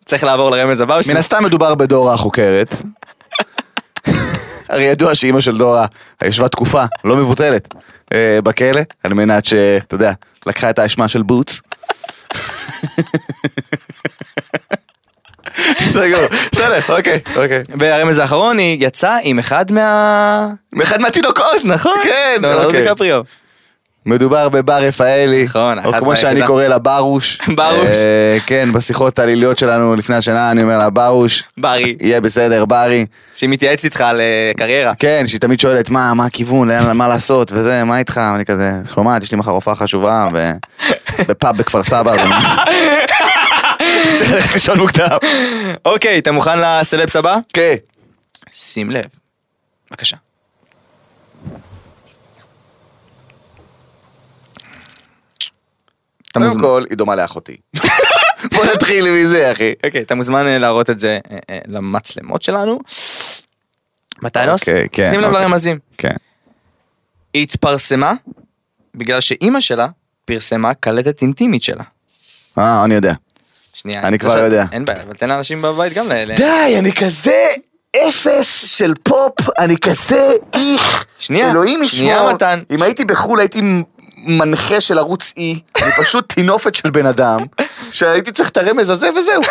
צריך לעבור לרמז הבא.
מן הסתם מדובר בדורה החוקרת. הרי ידוע שאימא של דורה ישבה תקופה לא מבוטלת אה, בכלא, על מנת ש... אתה יודע, לקחה את האשמה של בוץ. סגור, בסדר, אוקיי, אוקיי.
והרמז האחרון היא יצאה עם אחד מה...
אחד מהתינוקות,
נכון,
כן,
לאונרדו
אוקיי.
דיקפריו.
מדובר בבר רפאלי,
נכון,
או
אחת
כמו שאני
והיחידה.
קורא לה ברוש.
ברוש.
אה, כן, בשיחות הליליות שלנו לפני השנה אני אומר לה ברוש,
ברי,
יהיה בסדר, ברי.
שהיא מתייעצת איתך על אה, קריירה.
כן, שהיא תמיד שואלת מה, מה הכיוון, לאן, מה לעשות, וזה, מה איתך, אני כזה, שומעת, יש לי מחר הופעה חשובה, ו... בפאב בכפר סבא, אז אני- צריך ללכת לישון מוקדם.
אוקיי, אתה מוכן לסלבס הבא?
כן.
שים לב. בבקשה. אתה
קודם
מוזמן.
כל, היא דומה לאחותי. בוא נתחיל מזה, אחי.
אוקיי, אתה מוזמן אה, להראות את זה אה, אה, למצלמות שלנו. מתנוס,
אוקיי, כן,
שים לב
אוקיי.
לרמזים.
כן.
היא התפרסמה בגלל שאימא שלה פרסמה קלטת אינטימית שלה.
אה, אני יודע.
שנייה.
אני כבר
עכשיו-
יודע.
אין בעיה, אבל תן לאנשים בבית גם ל... ל-
די, אני כזה אפס של פופ, אני כזה איך.
שנייה,
אלוהים ישמור.
שנייה מתן.
אם הייתי בחו"ל הייתי מנחה של ערוץ E, אני פשוט טינופת של בן אדם, שהייתי צריך את הרמז הזה וזהו.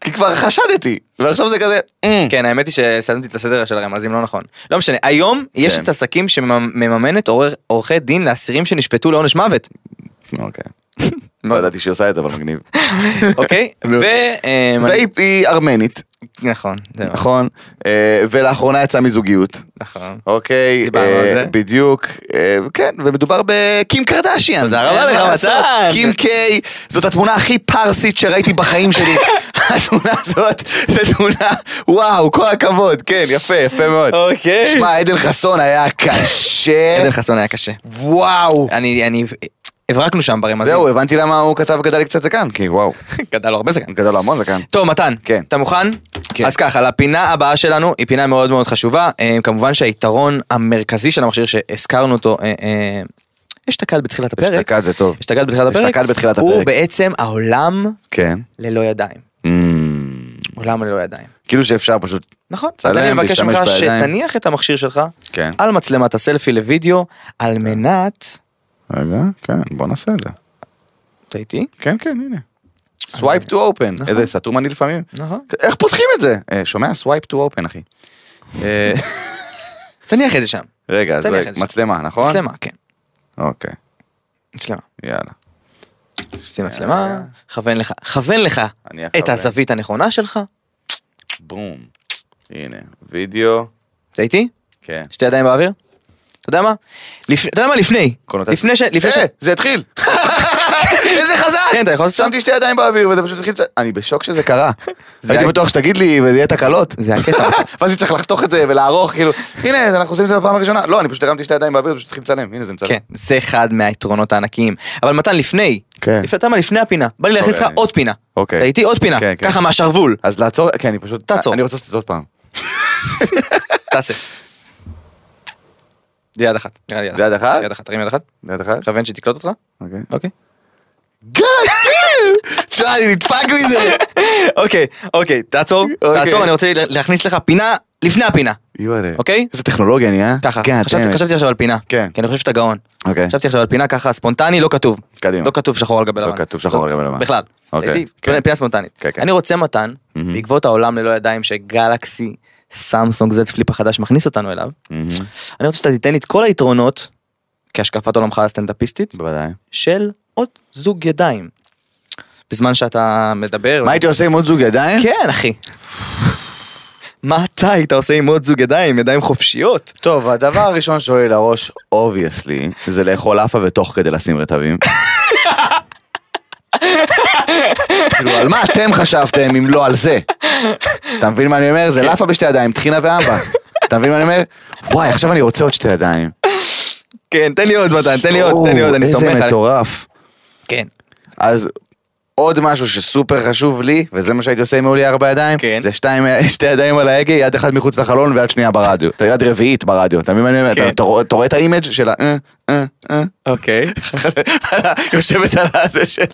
כי כבר חשדתי, ועכשיו זה כזה, "אמ".
כן, האמת היא שסדנתי את הסדר של הרמזים לא נכון. לא משנה, היום יש
כן.
את עסקים שמממנת עורך- עורכי דין לאסירים שנשפטו לעונש מוות,
אוקיי. לא ידעתי שהיא עושה את זה, אבל מגניב.
אוקיי?
נו.
ו... אה,
והיא היא ארמנית,
נכון, זהו,
נכון? אה, ולאחרונה יצאה מזוגיות.
נכון.
אוקיי,
דיברנו
אה,
על זה.
בדיוק, אה, כן, ומדובר בקים קרדשיאן.
תודה רבה
אין
לך,
מה לעשות,
מתן.
קים קיי, זאת התמונה הכי פרסית שראיתי בחיים שלי. התמונה הזאת, זו תמונה, וואו, כל הכבוד, כן, יפה, יפה מאוד.
אוקיי.
שמע, אה. עדן חסון היה קשה,
עדן חסון אה, היה קשה.
וואו.
אני, אני, הברקנו שם ברמזים.
זהו, הבנתי למה הוא כתב גדל לי קצת זקן, כי וואו,
גדל לו הרבה זקן.
הוא גדל לו המון זקן.
טוב, מתן,
כן.
אתה מוכן?
כן.
אז ככה, לפינה הבאה שלנו, היא פינה מאוד מאוד חשובה. אה, כמובן שהיתרון המרכזי של המכשיר שהזכרנו אותו, אה, אה, אשתקד בתחילת הפרק.
אשתקד זה טוב.
אשתקד בתחילת הפרק.
אשתקד בתחילת
הוא
הפרק.
בעצם העולם
כן.
ללא ידיים.
אמ,
עולם ללא ידיים.
כאילו שאפשר פשוט,
נכון, אז
צלם
אני מבקש
והשתמש
ממך
בידיים.
שתניח את המכשיר שלך
כן.
על מצלמת הסלפי לוידאו, על מנת...
רגע, כן, בוא נעשה את זה.
אתה איתי?
כן כן הנה. סווייפ טו אופן איזה סתום אני לפעמים
נכון.
איך פותחים את זה אה, שומע סווייפ טו אופן אחי. אה,
תניח את זה שם.
רגע אז
תניח
רגע,
את זה.
מצלמה נכון?
מצלמה, כן.
אוקיי
מצלמה.
יאללה.
שים מצלמה, כוון לך, כוון לך
אה, אני
את
אכוון.
הזווית הנכונה שלך.
בום. הנה וידאו.
אתה איתי?
כן.
שתי ידיים באוויר? אתה יודע מה? לפ- אתה יודע מה לפני?
קונוטציה.
לפני ש... לפני ש...
אה, זה התחיל. איזה חזק!
כן, אתה יכול לעשות שם?
שמתי שתי ידיים באוויר וזה פשוט התחיל... לצ- אני בשוק שזה קרה.
זה
הייתי
היה-
בטוח שתגיד לי וזה יהיה תקלות.
זה הקטע.
ואז היא צריך לחתוך את זה ולערוך, כאילו, הנה, אנחנו עושים את זה בפעם הראשונה. לא, אני פשוט הרמתי שתי ידיים באוויר ופשוט התחיל לצלם, הנה זה מצלם.
כן, זה אחד מהיתרונות הענקיים. אבל מתן, לפני,
כן.
לפני, אתה יודע מה, לפני הפינה, בא לי להכניס לך
אוקיי.
עוד פינה.
אוקיי.
אתה איתי עוד פינה,
כן, כן.
ככה מהשרוול,
אז לעצור, כן, אני פשוט...
תעצור.
אני רוצה לעשות את זה עוד פעם.
תעשה. זה יד אחת, נראה לי יד אחת.
זה יד אחת?
יד אחת, תרים יד אחת,
ליד אחת?
מכוון שתקלוט אותך,
אוקיי.
אוקיי.
תשמע, אני נדפק מזה.
אוקיי, אוקיי, תעצור,
אוקיי.
תעצור, אני רוצה לה- להכניס לך פינה לפני הפינה,
יואלה.
אוקיי?
איזה טכנולוגיה אני, אה?
ככה,
God
חשבתי-
damn it.
חשבתי עכשיו על פינה,
כן.
כי אני חושב שאתה גאון.
אוקיי.
חשבתי עכשיו על פינה ככה ספונטני, לא כתוב.
קדימה.
לא כתוב שחור על גבי
לא
לבן.
כתוב שחור על גבי לבן.
בכלל.
אוקיי,
הייתי-
כן.
פינה- פינה ספונטנית.
כן, כן.
אני רוצה מתן,
מהמם.
בעקבות העולם ללא ידיים שגלקסי, סמסונג זד פליפ החדש מכניס אותנו אליו,
מהמם.
אני רוצה שאתה תיתן לי את כל היתרונות, כהשקפת עולמך הסטנדאפיסטית,
בוודאי.
של עוד זוג ידיים. בזמן שאתה מדבר.
מה הייתי עושה עם עוד זוג ידיים?
כן, אחי. מה אתה היית עושה עם עוד זוג ידיים, ידיים חופשיות?
טוב, הדבר הראשון שעולה לראש, אובייסלי, זה לאכול עפה ותוך כדי לשים רטבים. כאילו, על מה אתם חשבתם אם לא על זה? אתה מבין מה אני אומר?
כן.
זה לאפה בשתי ידיים, טחינה ואמבה. אתה מבין מה אני אומר? וואי, עכשיו אני רוצה עוד שתי ידיים.
כן, תן לי עוד מתן, תן לי עוד, תן לי עוד, אני סומך
איזה
עליך.
מטורף.
כן.
אז עוד משהו שסופר חשוב לי, וזה מה שהייתי עושה אם היו לי ארבע ידיים,
כן.
זה שתיים, שתי ידיים על ההגה, יד אחת מחוץ לחלון ויד שנייה ברדיו. אתה יד רביעית ברדיו, אתה מבין מה אני אומר?
כן.
אתה- אתה רואה- אתה רואה את האימג' של ה... אה, אה, אה.
אוקיי.
יושבת על הזה שלה.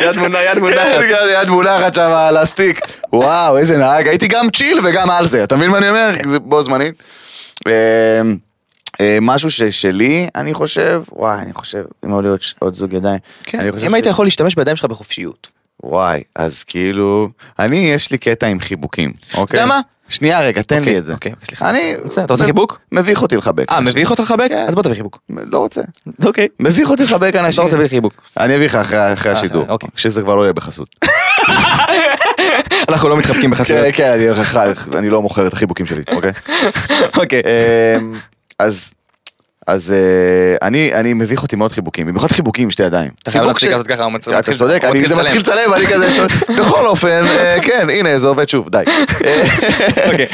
יד מונה, יד
כן, יד מונחת שם על הסטיק. וואו, איזה נהג. הייתי גם צ'יל וגם על זה, אתה מבין מה אני אומר?
כן.
זה בו זמנית. אמ, אמ, משהו ששלי, אני חושב, וואי, אני חושב, אם היו לי עוד ש- עוד זוג ידיים. אני חושב
כן, אם היית
ש-
יכול להשתמש בידיים שלך בחופשיות. אה,
וואי, אז כאילו, אני, יש לי קטע עם חיבוקים, אוקיי?
יודע מה?
שנייה רגע, תן
אוקיי,
לי את זה.
אוקיי, אוקיי, סליחה.
אני...
בסדר, אתה רוצה
מב-
חיבוק?
מביך אותי לחבק.
אה,
אנשים.
מביך אותך לחבק?
כן.
אז בוא תביא חיבוק.
לא רוצה.
אוקיי.
מביך אותי לחבק אנשים.
לא רוצה להביא חיבוק.
אני אביא לך אחרי אחרי
אחרי,
השידור,
אוקיי.
כשזה כבר לא יהיה בחסות.
אנחנו לא מתחבקים
כן, כן, אני אחר- אני לא מוכר את החיבוקים שלי, אוקיי?
אוקיי.
אמ, אז... אז אה, אני, אני מביך אותי מאוד חיבוקים, במיוחד חיבוקים עם שתי ידיים.
אתה חייב
חיבוק
להפסיק
ש-
לעשות ככה, הוא מתחיל-
אתה צודק,
הוא
אני-
מתחיל
זה מתחיל לצלם, אני כזה, ש- בכל אופן, אה, כן, הנה, זה עובד שוב, די.
אוקיי.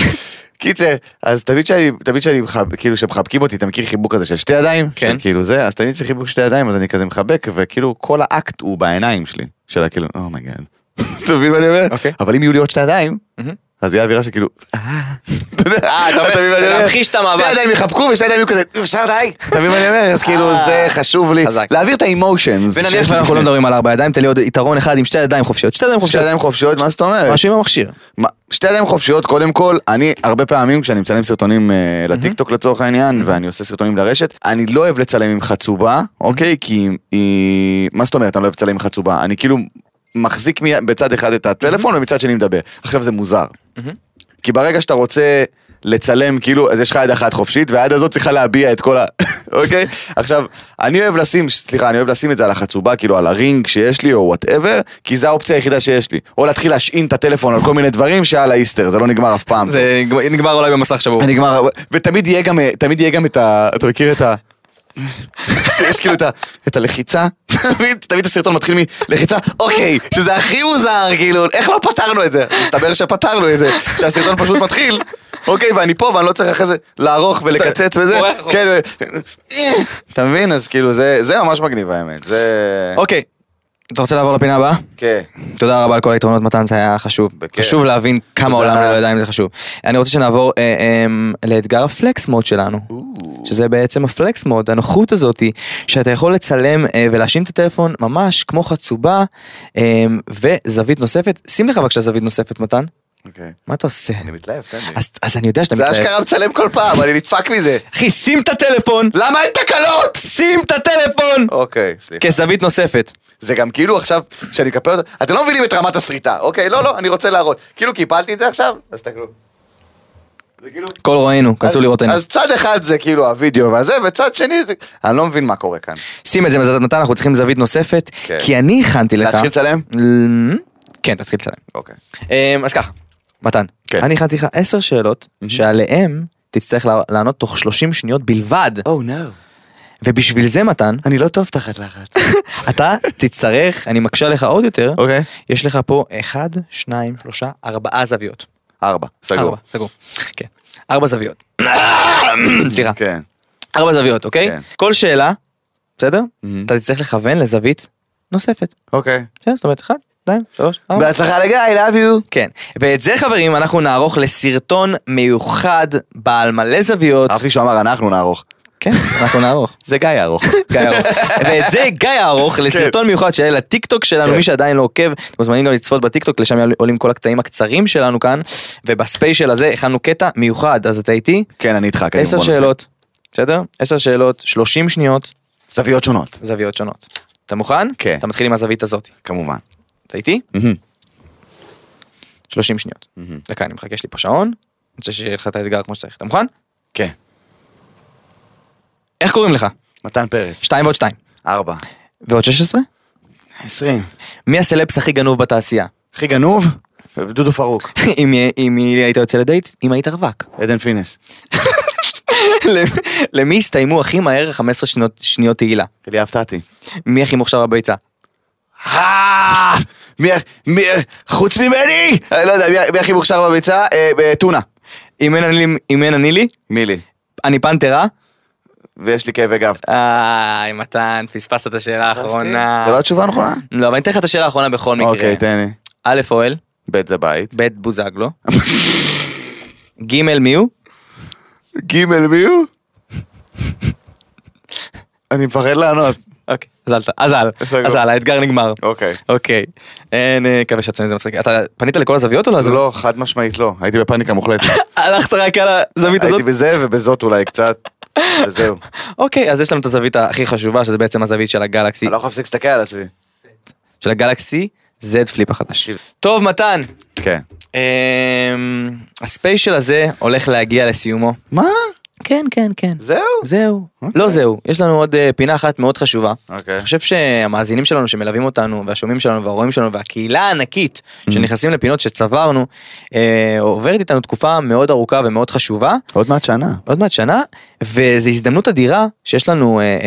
קיצר, אז תמיד שאני, תמיד שאני מחבק, כאילו שמחבקים אותי, אתה מכיר חיבוק כזה של שתי ידיים?
כן.
של כאילו זה, אז תמיד שחיבוק שתי ידיים, אז אני כזה מחבק, וכאילו כל האקט הוא בעיניים שלי, של הכאילו, אומייגאד. אתה מבין מה אני אומר?
אוקיי.
אבל אם יהיו לי עוד שתי ידיים,
מהמם.
אז יהיה אווירה שכאילו, אה, אתה יודע,
אה, אתה אומר,
מבין מה אני אומר?
להמחיש את המאבק.
שתי ידיים יחבקו ושתי ידיים יהיו כזה, אפשר די, אתה מבין מה אני אומר? אז כאילו
אה.
זה חשוב לי,
חזק.
להעביר את האמושנס.
ונניח ואנחנו לא מדברים על ארבע ידיים, תן לי עוד יתרון אחד עם שתי ידיים חופשיות. שתי ידיים
שתי
חופשיות.
ידיים חופשיות, מה זאת אומרת?
משהו עם המכשיר.
מה- שתי ידיים חופשיות קודם כל אני הרבה פעמים כשאני מצלם סרטונים אה, לטיקטוק לצורך העניין ואני עושה סרטונים לרשת אני לא אוהב לצלם עם חצובה אוקיי כי היא מה זאת אומרת אני לא אוהב לצלם עם חצובה אני כאילו מחזיק מי- בצד אחד את הטלפון ומצד שני מדבר עכשיו זה מוזר כי ברגע שאתה רוצה לצלם כאילו אז יש לך יד אחת חופשית והיד הזאת צריכה להביע את כל ה... אוקיי עכשיו אני אוהב לשים סליחה אני אוהב לשים את זה על החצובה כאילו על הרינג שיש לי או וואטאבר כי זה האופציה היחידה שיש לי או להתחיל להשעין את הטלפון על כל מיני דברים שעל האיסטר זה לא נגמר אף פעם.
זה נגמר אולי במסך שבור.
אני נגמר, ותמיד יהיה גם, אה, תמיד יהיה גם את ה... אתה מכיר את ה... שיש כאילו את, ה, את הלחיצה, תמיד, תמיד הסרטון מתחיל מלחיצה, אוקיי, שזה הכי מוזר, כאילו, איך לא פתרנו את זה? מסתבר שפתרנו את זה, שהסרטון פשוט מתחיל, אוקיי, ואני פה ואני לא צריך אחרי זה לערוך ולקצץ וזה,
בורח לו.
כן, ו- אתה מבין? אז כאילו, זה, זה ממש מגניב האמת, זה...
אוקיי. אתה רוצה לעבור לפינה הבאה?
כן.
תודה רבה על כל היתרונות מתן, זה היה חשוב.
בכיף.
חשוב להבין כמה
תודה.
עולם ללא ידיים זה חשוב. אני רוצה שנעבור אה, אמ, לאתגר הפלקס מוד שלנו. שזה בעצם הפלקס מוד, הנוחות הזאתי, שאתה יכול לצלם אה, ולהשאין את הטלפון ממש כמו חצובה, אה, וזווית נוספת. שים לך בבקשה זווית נוספת מתן,
אוקיי.
מה אתה עושה?
אני מתלהב, תן לי.
אז- אז אני יודע שאתה
זה
מתלהב.
אשכרה מצלם כל פעם, אני נדפק מזה.
אחי, שים את הטלפון!
למה אין תקלות?
שים את הטלפון!
אוקיי, סליחה.
כזווית נוספת.
זה גם כאילו עכשיו, שאני אקפל אותו, אתם לא מבינים את רמת הסריטה, אוקיי? לא, לא, אני רוצה להראות. כאילו קיפלתי את זה עכשיו, אז תסתכלו. זה כאילו...
כל רואינו, כנסו
אז-
לראות עינינו.
אז צד אחד זה כאילו הוידאו והזה, וצד שני זה... אני לא מבין מה קורה כאן.
שים את זה מזלת נתן, אנחנו צריכים זווית נוספת,
כן.
כי אני הכנתי לך...
להתחיל לצלם?
אמ,
Mm-hmm.
כן, תתחיל לצלם.
אוקיי.
אמ, אז ככה, מתן,
כן. Mm-hmm.
אני הכנתי לך עשר שאלות שעליהן תצטרך לה- לענות תוך 30 שניות בלבד.
או, נו.
ובשביל זה מתן,
Oh. אני לא טוב תחת לחץ.
אתה תצטרך, אני מקשה לך עוד יותר,
אוקיי.
יש לך פה 1, 2, 3, 4 זוויות.
ארבע, סגור.
ארבע, סגור. כן. ארבע זוויות. סליחה.
כן.
ארבע זוויות, אוקיי?
כן.
כל שאלה, בסדר?
Mhm.
אתה תצטרך לכוון לזווית נוספת.
אוקיי.
בסדר? זאת אומרת, 1, 2, 3, 4.
בהצלחה לגיא, I love you.
כן. ואת זה חברים אנחנו נערוך לסרטון מיוחד בעל מלא זוויות.
אהבתי שהוא אמר אנחנו נערוך.
כן, אנחנו נערוך.
זה גיא יערוך.
גיא ארוך. ואת זה גיא ארוך לסרטון מיוחד שיהיה לטיקטוק שלנו,
כן.
מי שעדיין לא עוקב, אתם מוזמנים גם לצפות בטיקטוק, לשם יעלו- עולים כל הקטעים הקצרים שלנו כאן, ובספיישל הזה הכנו קטע מיוחד, אז אתה איתי?
כן, אני איתך. קדימה,
עשר
בוא נתחיל.
שאלות, בסדר? עשר שאלות, 30 שניות,
זוויות שונות.
זוויות שונות. אתה מוכן?
כן.
אתה מתחיל עם הזווית הזאת.
כמובן.
אתה איתי?
מהמם.
30 שניות.
מהמם.
דקה, אני מחכה, יש לי פה שעון, אני רוצה שיהיה לך את האתגר כמו שצריך. אתה מוכן?
כן.
איך קוראים לך?
מתן פרץ.
2 ועוד 2.
ארבע.
ועוד 16?
עשרים.
מי הסלבס הכי גנוב בתעשייה?
הכי גנוב? דודו פרוק.
עם מי- עם מי היית יוצא לדייט? אם היית רווק.
עדן פינס.
למ- למי הסתיימו הכי מהר 15 שניות, שניות תהילה?
אלי אבטטי.
מי הכי מוכשר בביצה?
אה, מי, מי, חוץ ממני? אני לא יודע, מי, מי הכי מוכשר בביצה? אה, בטונה.
אם אין אני, אם אין אני לי,
מילי.
אני פנתרה?
ויש לי כאבי גב.
איי, מתן, פספסת את השאלה האחרונה.
זו לא התשובה הנכונה?
לא, אבל אני אתן לך את השאלה האחרונה בכל מקרה.
אוקיי, תן לי.
א' אוהל,
בית זה בית.
ב' בוזגלו, ג' מי הוא?
ג' מי הוא? אני מפחד לענות.
אוקיי, אז אל, ת- אז אל,
בסדר.
אז אל, האתגר נגמר.
אוקיי.
אוקיי, אין, אה, מקווה שעצמי זה מצחיק. אתה פנית לכל הזוויות או לא?
אז לא, חד משמעית לא. הייתי בפאניקה מוחלטת.
הלכת רק על הזווית הזאת?
הייתי בזה ובזאת אולי קצת. וזהו.
אוקיי, אז יש לנו את הזווית הכי חשובה, שזה בעצם הזווית של הגלקסי
אני לא יכול להפסיק להסתכל על עצמי.
של הגלקסי Z פליפ החדש.
תקשיב.
טוב מתן,
כן.
אמ, הספיישל הזה הולך להגיע לסיומו.
מה?
כן כן כן.
זהו?
זהו.
אוקיי.
לא זהו, יש לנו עוד אה, פינה אחת מאוד חשובה.
אוקיי.
אני חושב שהמאזינים שלנו שמלווים אותנו והשומעים שלנו והרואים שלנו והקהילה הענקית
Mm.
שנכנסים לפינות שצברנו אה, עוברת איתנו תקופה מאוד ארוכה ומאוד חשובה.
עוד מעט שנה.
עוד מעט שנה וזו הזדמנות אדירה שיש לנו אה, אה,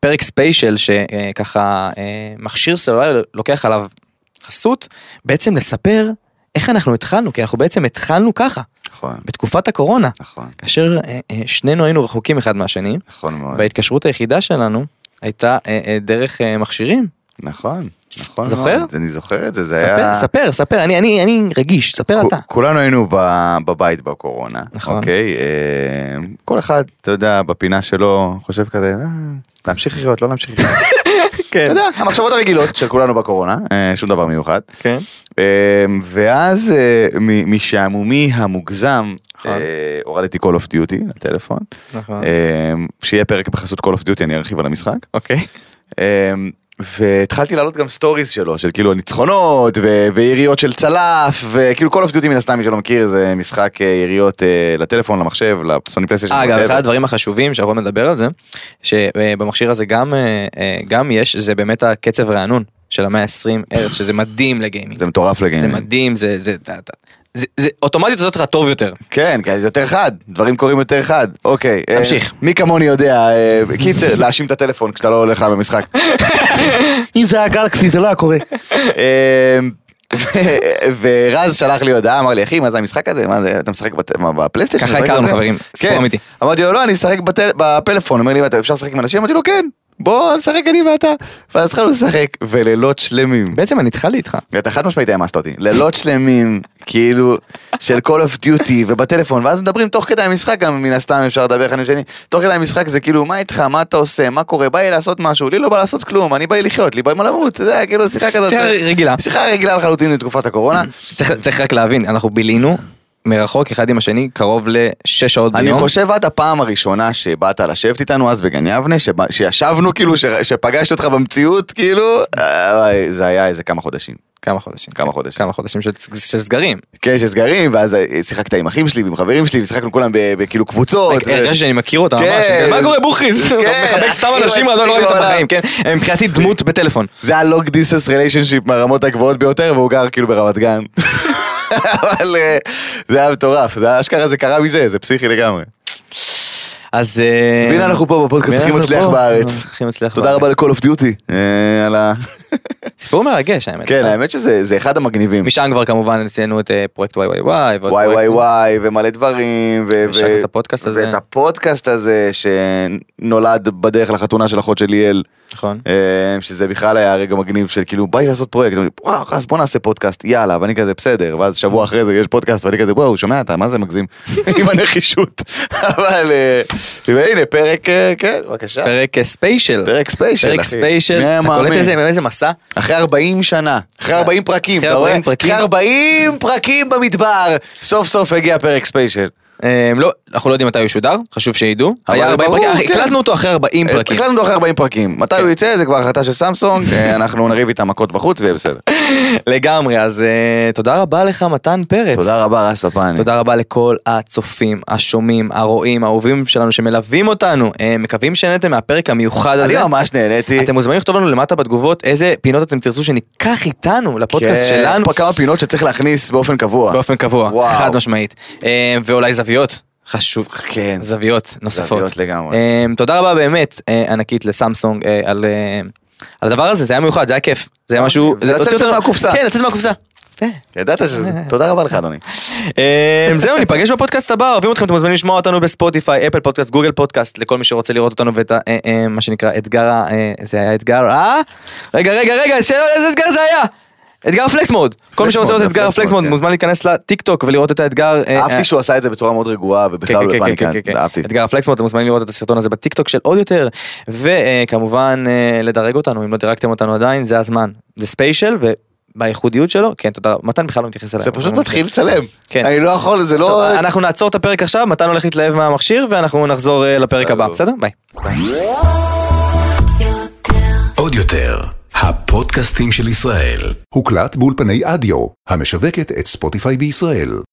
פרק ספיישל שככה אה, מכשיר סלולרי לוקח עליו חסות בעצם לספר איך אנחנו התחלנו כי אנחנו בעצם התחלנו ככה
נכון.
בתקופת הקורונה
נכון.
כאשר אה, אה, שנינו היינו רחוקים אחד מהשני
נכון מאוד.
וההתקשרות היחידה שלנו הייתה אה, אה, דרך אה, מכשירים
נכון. נכון
זוכר?
מאוד. אני זוכר את זה. זה
ספר
היה...
ספר ספר אני אני אני רגיש ספר
כו-
אתה
כולנו היינו ב- בבית בקורונה,
נכון.
אוקיי? אה, כל אחד, אתה יודע, בפינה שלו, חושב כזה, "אה, להמשיך לחיות, לא להמשיך לחיות.
כן
אתה יודע, המחשבות הרגילות של כולנו בקורונה, אה, שום דבר מיוחד.
כן
אה, ואז אה, מ- משעמומי המוגזם,
נכון.
אה, הורדתי Call of Duty לטלפון.
נכון
אה, שיהיה פרק בחסות Call of Duty, אני ארחיב על המשחק.
אוקיי
אמ, והתחלתי להעלות גם סטוריז שלו של כאילו ניצחונות ו- ויריות של צלף וכאילו כל אופטיוטי מן הסתם מי שלא מכיר זה משחק אה, יריות אה, לטלפון למחשב לסוני פלייסטיישן.
אגב,
whatever.
אחד הדברים החשובים שאנחנו נדבר על זה, שבמכשיר הזה גם, אה, אה, גם יש, זה באמת הקצב רענון של המאה ה-20 ארץ, שזה מדהים לגיימינג.
זה מטורף
זה
לגמרי.
מדהים, זה, זה, אתה- אתה- זה, זה אוטומטית עושה אותך טוב יותר.
כן, כן, זה יותר חד, דברים קורים יותר חד. אוקיי. אה,
תמשיך.
מי כמוני יודע, אה, קיצר, להאשים את הטלפון כשאתה לא הולך על המשחק.
אם זה היה גלקסי זה לא היה קורה.
אמ, ו- ורז שלח לי הודעה, אמר לי, אחי, מה זה המשחק הזה? מה זה, אתה משחק בט- מה, בפלייסטיישן?
ככה
אתה משחק
הכרנו,
בזה?"
חברים. סיפור
כן.
אמיתי.
אמרתי לו, לא, אני משחק בטל- בפלאפון. אומר לי, "מה, אתה אפשר לשחק עם אנשים? אמרתי לו, כן, בוא נשחק אני ואתה. ואז התחלנו לשחק, ולילות שלמים.
בעצם אני התחלתי איתך.
אתה חד משמעית העמסת אותי, לילות שלמים, כאילו, של Call of Duty ובטלפון, ואז מדברים תוך כדי המשחק, גם מן הסתם אפשר לדבר אחד עם השני, תוך כדי המשחק זה כאילו, מה איתך, מה אתה עושה, מה קורה, בא לי לעשות משהו, לי לא בא לעשות כלום, אני בא לי לחיות, לי בא לי למות, אתה יודע, כאילו, שיחה כזאת.
שיחה רגילה.
שיחה רגילה לחלוטין לתקופת הקורונה.
שצריך- צריך רק להבין, אנחנו בילינו מרחוק אחד עם השני קרוב לשש שעות ביום.
אני חושב עד הפעם הראשונה שבאת לשבת איתנו אז בגן יבנה, שבא- שישבנו כאילו, ש- שפגשתי אותך במציאות, כאילו, אה, וואי, זה היה איזה כמה חודשים.
כמה חודשים.
כמה
כן,
חודשים.
כמה חודשים של של סגרים.
כן, שסגרים, ואז אה, שיחקת עם אחים שלי ועם חברים שלי, ושיחקנו כולם ב- בכאילו קבוצות. ו-
הרגשתי שאני מכיר אותה
כן.
ממש, מה קורה בוכריס? אתה
כן,
מחבק סתם
הכי
אנשים, אני לא ראיתי אותם
מצחיק
בחיים, כן?
בעולם.
הם מבחינתי דמות בטלפון.
זה הלונג דיסטנס ריליישנשיפ מהרמות הגבוהות ביותר, והוא גר כאילו ברמת גן. אבל אה, זה היה מטורף, זה היה- אשכרה זה קרה מזה, זה פסיכי לגמרי.
אז... אה,
והנה אנחנו פה בפודקאסט
והנה
הכי
אנחנו
מצליח
פה. אה,
בארץ.
הכי מצליח
תודה רבה
בארץ.
ל-call of duty. אה, על ה...
סיפור מרגש האמת. אה,
כן, האמת שזה זה אחד המגניבים.
משם כבר כמובן ציינו את אה, פרויקט וואי וואי וואי. ועוד
וואי וואי
פרויקטים.
וואי ומלא דברים. ו-
יש לך
ו-
את הפודקאסט הזה.
ואת הפודקאסט הזה שנולד בדרך לחתונה של אחות של ליאל.
נכון.
אה, שזה בכלל היה רגע מגניב של כאילו בא לי לעשות פרויקט, אומרים, וואו אז בוא נעשה פודקאסט יאללה ואני כזה בסדר ואז שבוע אחרי זה יש פודקאסט ואני כזה וואו שומע אתה מה זה מגזים עם הנחישות אבל אה, והנה פרק אה, כן בבקשה
פרק אה, ספיישל.
פרק ספיישל
פרק
אחי.
ספיישל.
מי היה
אתה קולט
מאמין?
איזה איזה מסע?
אחרי 40 שנה אחרי 40 פרקים
אחרי
אתה
40
רואה
פרקים.
אחרי 40 פרקים במדבר סוף סוף הגיע פרק ספיישל.
אה, לא, אנחנו לא יודעים מתי הוא ישודר, חשוב שידעו.
אבל
היה 40
ברור,
פרקים, אחי,
כן.
הקלטנו אותו אחרי 40 פרקים. כן.
החלטנו אחרי 40 פרקים מתי הוא יצא זה כבר החלטה של סמסונג אה, אנחנו נריב איתם מכות בחוץ ויהיה בסדר.
לגמרי, אז אה, תודה רבה לך מתן פרץ.
תודה אה. רבה רס הפאני.
תודה רבה לכל הצופים, השומעים, הרואים, האהובים שלנו שמלווים אותנו. אה, מקווים שנהנתם מהפרק המיוחד
אני
הזה.
ממש נהניתי.
אתם מוזמנים לכתוב לנו למטה בתגובות איזה פינות אתם תרצו שניקח איתנו לפודקאסט
כן,
שלנו
פה כמה פינות שצריך להכניס באופן קבוע.
באופן קבוע,
וואו.
חד משמעית. אה, ואולי זוויות, חשוב.
כן.
זוויות נוספות.
זוויות לגמרי.
אה, תודה רבה באמת אה, ענקית לסמסונג אה, על אה, על הדבר הזה, זה היה מיוחד, זה היה כיף. זה היה משהו,
אה, זה
הוציא
לצאת
אותנו-
מהקופסה.
כן, לצאת מהקופסה. יפה.
ידעת שזה... תודה רבה לך אדוני.
אה, זהו, ניפגש בפודקאסט הבא, אוהבים אתכם, אתם מוזמנים לשמוע אותנו בספוטיפיי, אפל פודקאסט, גוגל פודקאסט, לכל מי שרוצה לראות אותנו ואת ה- אה, אה, מה שנקרא אתגר, ה- אה, זה היה אתגר, אה? רגע, רגע, רגע, שאלה איזה אתגר זה היה? אתגר פלקס מוד, כל מי
פלקס
שרוצה
מוד,
לראות את
זה
אתגר
פלקס
הפלקס
מוד,
מוד
כן.
מוזמן להיכנס לטיק טוק ולראות את האתגר. אה, אה,
אהבתי שהוא עשה את זה בצורה מאוד רגועה
כן,
ובכלל לא
כן, כן,
בפאניקה.
כן, כן, כן.
אהבתי.
אתגר הפלקס מוד, אתם מוזמנים לראות את הסרטון הזה בטיקטוק של עוד יותר וכמובן לדרג אותנו אם לא דירגתם אותנו עדיין זה הזמן זה ספיישל ובייחודיות שלו כן תודה מתן בכלל לא מתייחס אליי.
זה פשוט מתחיל לצלם.
כן.
אני לא יכול זה
טוב,
לא...
אנחנו נעצור את הפרק עכשיו מתן הולך להתלהב מהמכשיר ואנחנו נחזור אה, לפרק הבא
בסדר.
בסדר ביי.
עוד יותר, הפודקאסטים של ישראל.
הוקלט באולפני אדיו, המשווקת את ספוטיפיי בישראל.